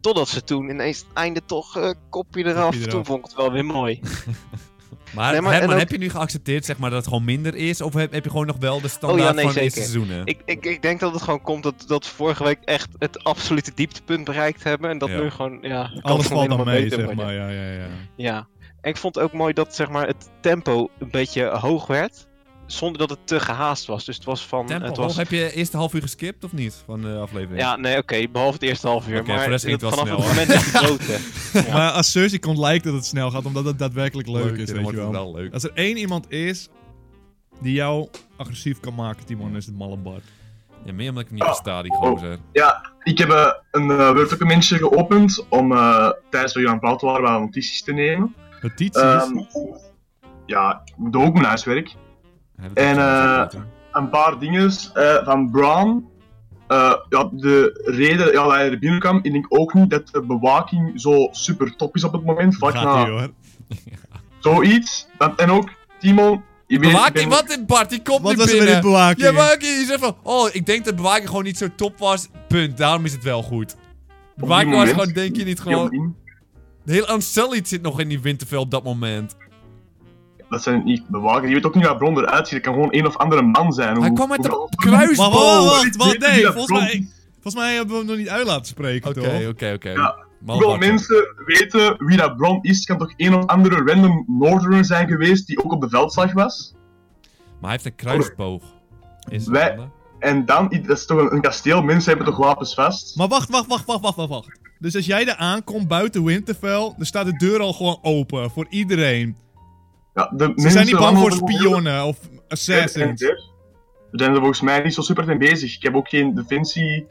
C: Totdat ze toen ineens het einde toch eh, kopje eraf.
A: eraf.
C: Toen vond ik het wel weer mooi.
B: Maar,
C: Nee, maar-
B: Herman,
C: en ook-
B: heb je nu geaccepteerd zeg maar, dat het gewoon minder is? Of heb, heb je gewoon nog wel de standaard
C: Oh ja, nee,
B: van de
C: zeker.
B: eerste seizoenen?
C: ik, ik, ik denk dat het gewoon komt dat, dat we vorige week echt het absolute dieptepunt bereikt hebben. En dat
B: Ja.
C: nu gewoon, ja, kan het
A: Alles
C: gewoon
A: valt dan
C: helemaal
A: mee,
C: beter
A: zeg
C: worden.
A: maar. Ja, ja, ja.
C: Ja, en ik vond het ook mooi dat zeg maar, het tempo een beetje hoog werd. Zonder dat het te gehaast was. Dus het was van.
B: Tempo,
C: het was,
B: Heb je eerste half uur geskipt of niet van de aflevering?
C: ja, nee, oké, behalve het eerste half uur.
B: Oké,
C: maar
B: voor de rest ging het
C: dat-
B: wel
C: vanaf
B: snel,
C: het moment dat hij dood werd. Ja.
A: Maar als Cersei komt, lijkt dat het snel gaat, omdat het daadwerkelijk leuk, is, weet
B: dan
A: je
B: wordt
A: wel.
B: het wel leuk.
A: Als er één iemand is die jou agressief kan maken, Timon, is het malle Bart.
B: Ja, meer omdat ik hem niet versta, die gozer.
D: Ik heb eh, een eh, Word documentje geopend om eh, tijdens dat we aan het praten waren, wel notities te nemen.
A: Het iets is...
D: Ehm, ja, ik doe ook mijn huiswerk.
B: Hij heeft
D: En,
B: het
D: eh,
B: ook gezien,
D: Een paar dingen van Brown. Eh, ja, de reden ja, dat hij er binnen kwam, ik denk ook niet dat de bewaking zo super top is op het moment. Vlak
A: gaat ie,
D: na
A: hoor.
D: zoiets. Dan- en ook, Timon, je weet... ik
B: Bewaking,
D: ben-
B: wat in Bart? Die komt
A: Wat
B: niet
A: was er met
B: binnen.
A: die bewaking?
B: ja, Bewaking, die zegt van, oh, ik denk dat Bewaking gewoon niet zo top was. Punt, daarom is het wel goed. Bewaking was
D: moment-
B: gewoon, denk je niet
D: Ja,
B: gewoon... De hele Unsullied zit nog in die Winterfell op dat moment.
D: Dat zijn niet bewakers. Je weet ook niet waar Bron eruit ziet. Het kan gewoon een of andere man zijn.
B: Hij
D: Hoe-
B: kwam met
D: hoe-
B: de kruisboog.
A: Maar wacht, wacht, wacht,
D: Weet je wie
A: nee,
D: dat
A: volgens mij,
D: Bron-
A: volgens mij hebben we hem nog niet uit laten spreken,
B: Oké,
A: toch?
B: oké, oké.
D: Ja,
B: Maar
D: Hoeveel
B: wacht,
D: mensen weten wie dat Bron is? Het kan toch een of andere random Northerner zijn geweest die ook op de veldslag was?
B: Maar hij heeft een kruisboog. Is het
D: Wij-
B: zonde?
D: En dan, dat is toch een, een kasteel, mensen hebben toch wapens vast?
A: Maar wacht, wacht, wacht, wacht, wacht, wacht, wacht. Dus als jij er aankomt buiten Winterfell, dan staat de deur al gewoon open voor iedereen.
D: Ja, de
A: Ze
D: mensen
A: zijn niet bang voor
D: wandelen gewoon
A: spionnen of
D: heel de tijd
A: assassins.
D: en weer. Ze zijn er volgens mij niet zo super mee bezig. Ik heb ook geen defensie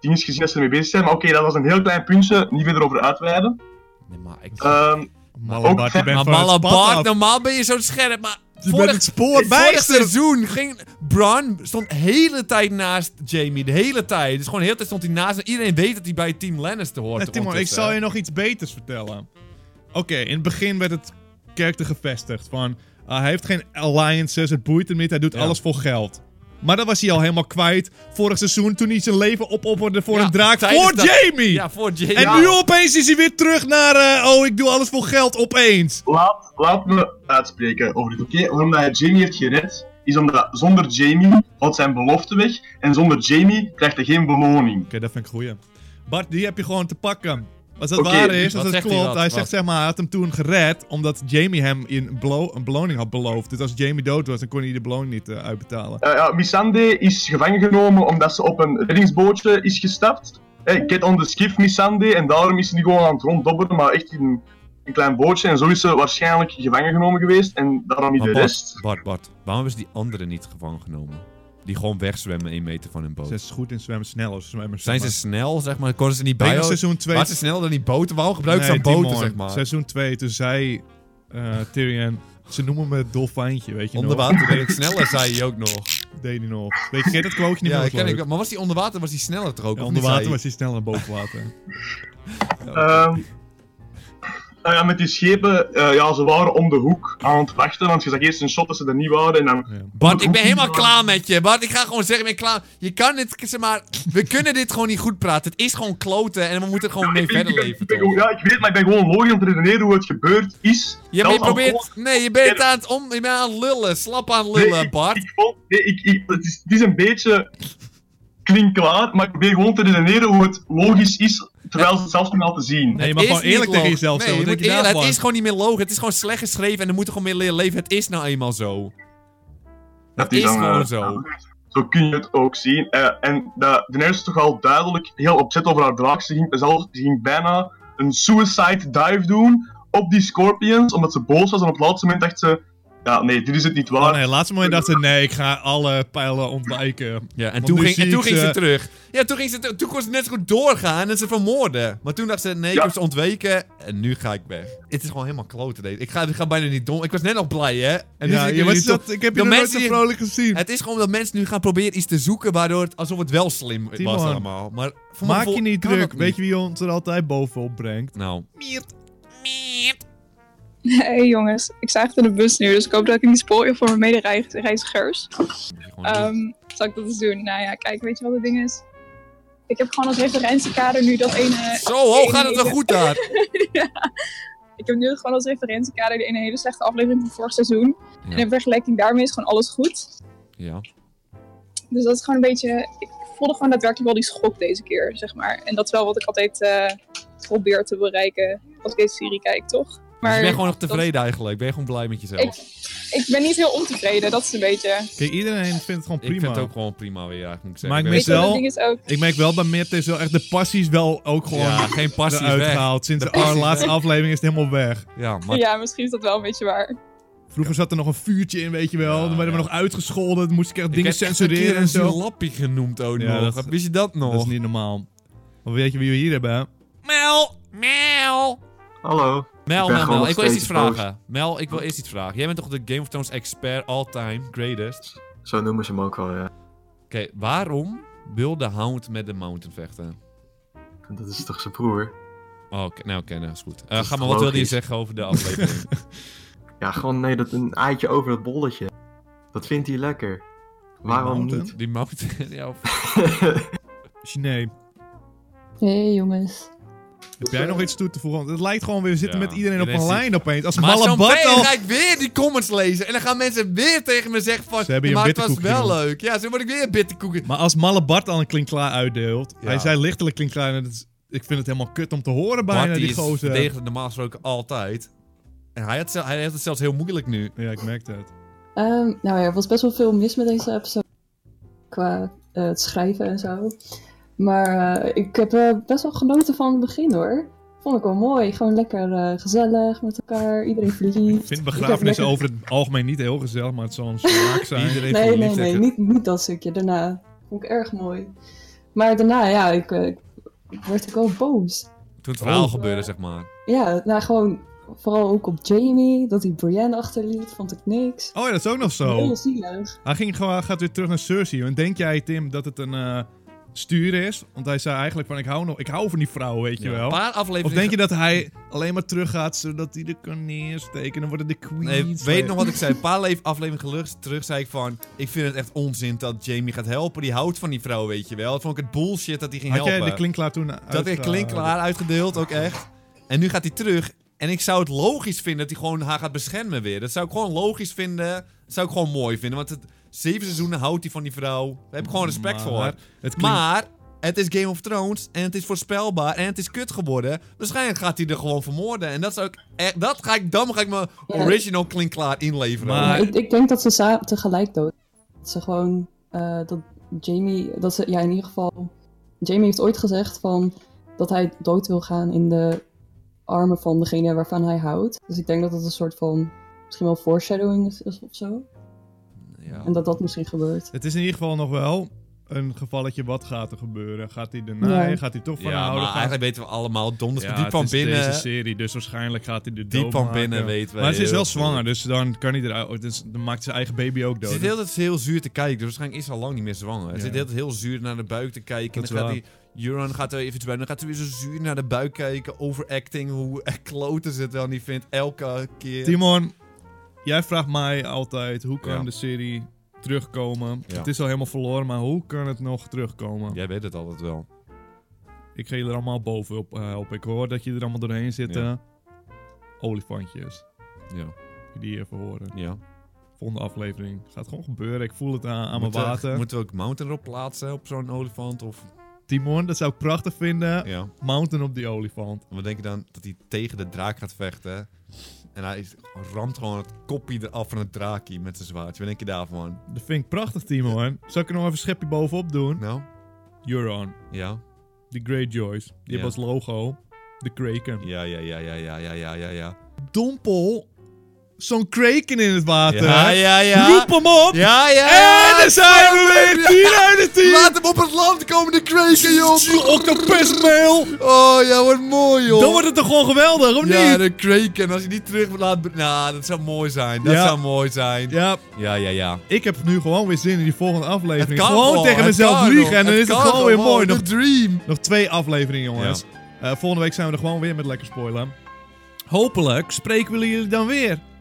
D: dienst gezien dat ze ermee bezig zijn. Maar oké, dat was een heel klein puntje, niet verder over uitweiden.
B: Nee, maar ik...
D: Ehm,
A: Malabar, je
D: Ook-
A: bent
B: maar
A: van het
B: Malle
A: pad
B: Bart,
A: af.
B: normaal ben je zo scherp, maar...
A: Je bent het spoor
B: Vorig
A: bijster.
B: seizoen ging Bran stond de hele tijd naast Jamie. De hele tijd. Dus gewoon de hele tijd stond hij naast. hem. Iedereen weet dat hij bij Team Lannister hoort.
A: Nou, Timon, ik
B: ondertussen.
A: zal je nog iets beters vertellen. Oké, in het begin werd het kerkte gevestigd van... ah, hij heeft geen alliances, het boeit hem niet, hij doet
B: Ja.
A: alles voor geld. Maar dat was hij al helemaal kwijt vorig seizoen toen hij zijn leven opofferde voor
B: Ja,
A: een draak
B: tijdens
A: voor
B: dat-
A: Jamie!
B: Ja, voor Jamie.
A: En nu opeens is hij weer terug naar... eh, oh, ik doe alles voor geld opeens.
D: Laat, laat me uitspreken over dit, oké? Waarom dat hij Jamie heeft gered, is omdat zonder Jamie valt zijn belofte weg. En zonder Jamie krijgt hij geen beloning.
A: Oké, dat vind ik goeie. Bart, die heb je gewoon te pakken. Als dat
D: Oké,
A: waar is,
B: wat
A: als dat
B: zegt hij
A: klopt. Hij,
B: wat? Wat?
A: zegt zeg maar, hij had hem toen gered omdat Jamie hem in belo- een beloning had beloofd. Dus als Jamie dood was, dan kon hij de beloning niet eh, uitbetalen.
D: Eh, ja, Missande is gevangen genomen omdat ze op een reddingsbootje is gestapt. Eh, get on the skiff, Missande. En daarom is hij gewoon aan het ronddobberen, maar echt in een, een klein bootje. En zo is ze waarschijnlijk gevangen genomen geweest. En daarom niet
B: Maar
D: de
B: Bart,
D: rest.
B: Bart, Bart, waarom hebben ze die anderen niet gevangen genomen? Die gewoon wegzwemmen 1 meter van hun boot.
A: Ze is goed in zwemmen, snel als zwemmen.
B: Zijn ze snel, zeg maar? Konden ze niet bij?
A: Denk dat seizoen 2...
B: Waren ze sneller dan die boten? Waarom gebruiken ze dan boten, zeg maar?
A: Seizoen 2, toen zei eh, Tyrion... Ze noemen me het dolfijntje, weet je
B: Onder
A: nog?
B: water ben ik sneller, zei hij ook nog.
A: Deed hij nog. Weet je, ken je dat quoteje niet
B: Ja,
A: meer?
B: ik ken
A: Leuk.
B: ik. Maar was die onder water, was die sneller toch ook?
A: Ja,
B: of
A: onder
B: niet,
A: water
B: zei
A: was hij sneller dan boven water.
B: hij? Ja, oké.
D: Ehm, Nou ja, met die schepen, eh, ja, ze waren om de hoek aan het wachten, want je zag eerst een shot dat ze er niet waren en dan...
B: Bart, ik ben helemaal klaar met je. Bart, ik ga gewoon zeggen, ik ben klaar. Je kan dit, zeg maar, we kunnen dit gewoon niet goed praten. Het is gewoon kloten en we moeten er gewoon mee
D: Ik ben-
B: verder
D: ik ben- ik
B: leven.
D: ben
B: toch?
D: gewoon- Ja, ik weet, maar ik ben gewoon logisch aan het redeneren hoe het gebeurd is.
B: Ja, maar
D: Zelfs
B: je
D: al
B: probeert, nee, je bent
D: Ja.
B: aan het, om, je bent aan het lullen, slap aan het
D: Nee,
B: lullen,
D: ik-
B: Bart.
D: Ik vond, nee, ik, ik, het, is, het is een beetje klinkklaar, maar ik probeer gewoon te redeneren hoe het logisch is, terwijl ze het zelf niet laten zien.
A: Nee, je
B: Het
A: mag
B: is
A: gewoon
B: niet
A: eerlijk tegen
B: logisch.
A: jezelf
B: nee,
A: zijn.
B: je
A: Wat denk
B: moet
A: je
B: eerlijk-
A: daarvan?
B: Het is gewoon niet meer logisch. Het is gewoon slecht geschreven en er moeten gewoon meer leren leven. Het is nou eenmaal zo.
D: dat
B: Het is
D: dan, eh,
B: gewoon zo.
D: Zo kun je het ook zien. Eh, en de, de is toch al duidelijk heel opzet over haar draak. Ze ging, zelf, ze ging bijna een suicide dive doen op die Scorpions, omdat ze boos was. En op het laatste moment dacht ze, ja nee, dit is het niet
A: Oh
D: waar.
A: nee, laatste moment dacht ze, nee, ik ga alle pijlen ontwijken.
B: Ja, en
A: Want
B: toen,
A: nu
B: ging, en
A: zie
B: toen
A: ik
B: ging ze
A: ze-
B: terug. Ja, toen, ging ze ter- toen kon ze net zo goed doorgaan en ze vermoorden. Maar toen dacht ze, nee, ik
D: Ja.
B: heb ze ontweken en nu ga ik weg. Het is gewoon helemaal klote deze. Ik ga, ik ga bijna niet dom. Ik was net nog blij, hè? En nu
A: ja,
B: zit ik
A: je
B: er
A: was
B: nu
A: dat,
B: toch-
A: dus ik heb
B: de
A: je nog nooit
B: mensen
A: zo
B: die-
A: vrolijk gezien.
B: Het is gewoon dat mensen nu gaan proberen iets te zoeken waardoor het alsof het wel slim was
A: Timon,
B: allemaal. Maar voor mijn
A: Maak je
B: gevoel
A: niet
B: kan
A: druk.
B: dat
A: Weet je wie ons er altijd bovenop brengt?
B: Nou,
E: Hey jongens, ik sta echt in de bus nu, dus ik hoop dat ik niet spoor voor mijn medereizigers.
B: moet je gewoon doen.
E: Ehm zal ik dat eens doen? Nou ja, kijk, weet je wat het ding is? Ik heb gewoon als referentiekader nu dat ene...
B: Zo, oh, gaat het wel goed daar?
E: ja. Ik heb nu gewoon als referentiekader de ene hele slechte aflevering van vorig seizoen. En in vergelijking daarmee is gewoon alles goed.
B: Ja.
E: Dus dat is gewoon een beetje... Ik voelde gewoon daadwerkelijk wel die schok deze keer, zeg maar. En dat is wel wat ik altijd eh, probeer te bereiken als ik deze serie kijk, toch?
B: Maar
E: Maar
B: Dus je bent gewoon nog
E: dat-
B: tevreden eigenlijk. Ben je gewoon blij met jezelf.
E: Ik, ik ben niet heel ontevreden, dat is een beetje...
A: Kijk, iedereen vindt het gewoon
B: Ik vind
A: prima.
B: het ook gewoon prima weer, eigenlijk, moet ik
A: Maar
B: zeggen.
A: ik
B: ben
A: mis
E: Weet je wat
A: wel-
E: het ding is ook?
A: Ik merk wel bij Mert is wel echt de passies wel ook gewoon
B: Ja, geen passie is
A: eruit
B: weg.
A: gehaald. Sinds
B: De
A: de,
B: passie is
A: laatste aflevering is het helemaal weg.
B: Ja, maar
E: Ja, misschien is dat wel een beetje waar.
A: Vroeger zat er nog een vuurtje in, weet je wel.
B: Ja,
A: Dan werden we
B: ja.
A: nog uitgescholden. Dan moest ik echt
B: ik
A: dingen
B: heb echt een keer
A: censureren en
B: een
A: zo.
B: lappie genoemd ook
A: Ja,
B: nog.
A: dat-
B: Wist je dat nog?
A: Dat is niet normaal. Maar weet je wie we hier hebben? hè?
B: Mel, Mel.
D: Hallo.
B: Mel,
D: ben
B: Mel,
D: gewoon
B: Mel,
D: nog
B: ik wil eerst iets
D: steeds boos.
B: vragen. Mel, ik wil eerst iets vragen. Jij bent toch de Game of Thrones expert all time, greatest? Oké,
D: Zo noemen ze hem ook wel, ja.
B: waarom wil de Hound met de Mountain vechten?
D: Dat is toch zijn broer?
B: Oh, oké, nou oké, nou is goed. Eh,
D: Dat is
B: ga maar,
D: toch
B: wat wilde je
D: logisch?
B: zeggen over de aflevering?
D: Ja, gewoon nee, dat een eitje over dat bolletje. Dat vindt hij lekker.
A: Waarom mountain? niet?
B: Die Mountain, ja. Of...
A: Sinead,
F: Hey jongens.
A: heb jij nog iets toe te voegen? Want het lijkt gewoon, we zitten
B: Ja,
A: met iedereen op
B: iedereen
A: een
B: ziet-
A: lijn opeens. Als
B: Maar zo'n
A: Malabat
B: beetje
A: al...
B: ga ik weer die comments lezen. En dan gaan mensen weer tegen me zeggen van...
A: Ze hebben je
B: maar
A: een
B: het was
A: bitterkoekje
B: wel leuk. Ja, zo word ik weer bitterkoeken.
A: Maar als Malle Bart al een klinkklaar uitdeelt.
B: Ja.
A: Hij zei lichtelijk klinkklaar. en dat is- Ik vind het helemaal kut om te horen bijna,
B: Bart,
A: die,
B: die is
A: gozer.
B: verdedigend normaal gesproken altijd. En hij, had zel- hij heeft het zelfs heel moeilijk nu.
A: Ja, ik merk dat.
F: Ehm, nou ja, er was best wel veel mis met deze episode. Qua eh, het schrijven en zo. Maar eh, ik heb eh, best wel genoten van het begin hoor. Vond ik wel mooi. Gewoon lekker eh, gezellig met elkaar. Iedereen verliefd.
A: Ik vind
F: heb
A: begrafenissen over
F: lekker-
A: het algemeen niet heel gezellig, maar het zal een smaak zijn.
B: Iedereen
F: Nee, nee,
B: verliefd,
F: nee.
B: lekker.
F: Niet, niet dat stukje. Daarna vond ik erg mooi. Maar daarna, ja, ik, eh, werd ik wel boos.
B: Toen het verhaal
A: Oh.
B: gebeurde, zeg maar.
F: Ja, nou gewoon vooral ook op Jamie. Dat hij Brienne achterliet, vond ik niks.
A: Oh ja, dat is ook nog zo.
F: Heel zielig.
A: Hij ging, gewoon- gaat weer terug naar Cersei. En denk jij, Tim, dat het een eh, stuur is? Want hij zei eigenlijk van, ik hou, nog, ik hou van die vrouw, weet je
B: Ja, Een
A: wel.
B: paar afleveringen...
A: Of denk je dat hij alleen maar teruggaat zodat hij er kan neersteken? En dan worden de queens...
B: Nee, weet nog wat ik zei? Een paar le- afleveringen geluk- terug zei ik van... Ik vind het echt onzin dat Jamie gaat helpen. Die houdt van die vrouw, weet je wel. Dat vond ik het bullshit dat hij ging
A: Had jij
B: helpen.
A: de klinklaar toen uit?
B: dat ik klinkklaar uitgedeeld, ook echt. En nu gaat hij terug. En ik zou het logisch vinden dat hij gewoon haar gaat beschermen weer. Dat zou ik gewoon logisch vinden. Dat zou ik gewoon mooi vinden. Want het, zeven seizoenen houdt hij van die vrouw. Daar heb ik gewoon respect
A: Maar-
B: voor.
A: Het klinkt...
B: Maar het is Game of Thrones en het is voorspelbaar en het is kut geworden. Waarschijnlijk gaat hij er gewoon vermoorden. En dat zou ik echt, dat ga ik, dan ga ik mijn
F: Ja.
B: original klinkklaar inleveren.
A: Maar-
F: Ja, ik, ik denk dat ze sa- tegelijk dood. Dat ze gewoon. eh, dat Jamie. Dat ze, ja, in ieder geval. Jamie heeft ooit gezegd van. dat hij dood wil gaan in de armen van degene waarvan hij houdt. Dus ik denk dat dat een soort van. misschien wel foreshadowing is, is of zo.
B: Ja.
F: En dat dat misschien gebeurt.
A: Het is in ieder geval nog wel een gevalletje wat gaat er gebeuren. Gaat hij daarna
F: Ja.
A: heen? Gaat hij toch van haar
B: ja, maar
A: houden? Gaat-
B: eigenlijk weten we allemaal donders
A: Ja,
B: diep
A: het
B: van
A: is deze
B: binnen.
A: serie, dus waarschijnlijk gaat hij de
B: Diep
A: dood
B: van
A: maken.
B: binnen weten we
A: Maar ze is
B: heel
A: wel
B: goed.
A: zwanger, dus dan kan hij eruit. Dus dan maakt ze eigen baby ook
B: Ze
A: dood.
B: zit de hele tijd heel zuur te kijken, dus waarschijnlijk is ze al lang niet meer zwanger. Ze
A: Ja.
B: zit de hele tijd heel zuur naar de buik te kijken.
A: Dat
B: en
A: is
B: dan gaat
A: waar.
B: die Euron gaat er even bij, dan gaat ze weer zo zuur naar de buik kijken. Overacting, hoe kloten ze het wel niet vindt, elke keer.
A: Timon, jij vraagt mij altijd hoe kan
B: Ja.
A: de serie terugkomen?
B: Ja.
A: Het is al helemaal verloren, maar hoe kan het nog terugkomen?
B: Jij weet het altijd wel.
A: Ik ga jullie er allemaal bovenop eh, helpen. Ik hoor dat jullie er allemaal doorheen zitten. Olifantjes,
B: Ja,
A: die je even horen.
B: ja.
A: Volgende aflevering. Gaat gewoon gebeuren. Ik voel het aan, aan mijn
B: moeten, we-
A: water.
B: moeten we ook Mountain erop plaatsen op zo'n olifant? Of,
A: Timon, dat zou ik prachtig vinden.
B: ja.
A: Mountain op die olifant.
B: En we denken dan dat hij tegen de draak gaat vechten. En hij is- ramt gewoon het kopje eraf van het draakje met zijn zwaardje. Wat denk je daarvan?
A: Dat vind ik prachtig, Timon. Zal ik er nog even een schepje bovenop doen?
B: Nou,
A: Euron.
B: ja.
A: De Greyjoys. Die
B: Ja.
A: hebben als logo de Kraken.
B: Ja, ja, ja, ja, ja, ja, ja, ja, ja.
A: Dompel zo'n Kraken in het water.
B: Ja, ja, ja.
A: Roep hem op!
B: Ja, ja,
A: En daar zijn we weer! 10 uit de 10!
B: Laat hem op het land komen, de kraken, joh!
A: Octopusmail!
B: Oh, ja, wat mooi, joh!
A: Dan wordt het toch gewoon geweldig, of
B: Ja,
A: niet?
B: de kraken. Als je die terug laat... Nou, dat zou mooi zijn. Dat
A: Ja.
B: zou mooi zijn.
A: Ja,
B: Ja, ja, ja.
A: ik heb nu gewoon weer zin in die volgende aflevering. gewoon
B: wel,
A: tegen
B: het
A: mezelf
B: kan,
A: liegen
B: joh.
A: en dan is het
B: kan
A: gewoon weer mooi.
B: De
A: Nog,
B: dream.
A: nog twee afleveringen, jongens. Eh, volgende week zijn we er gewoon weer met lekker spoilen. Hopelijk spreken we jullie dan weer.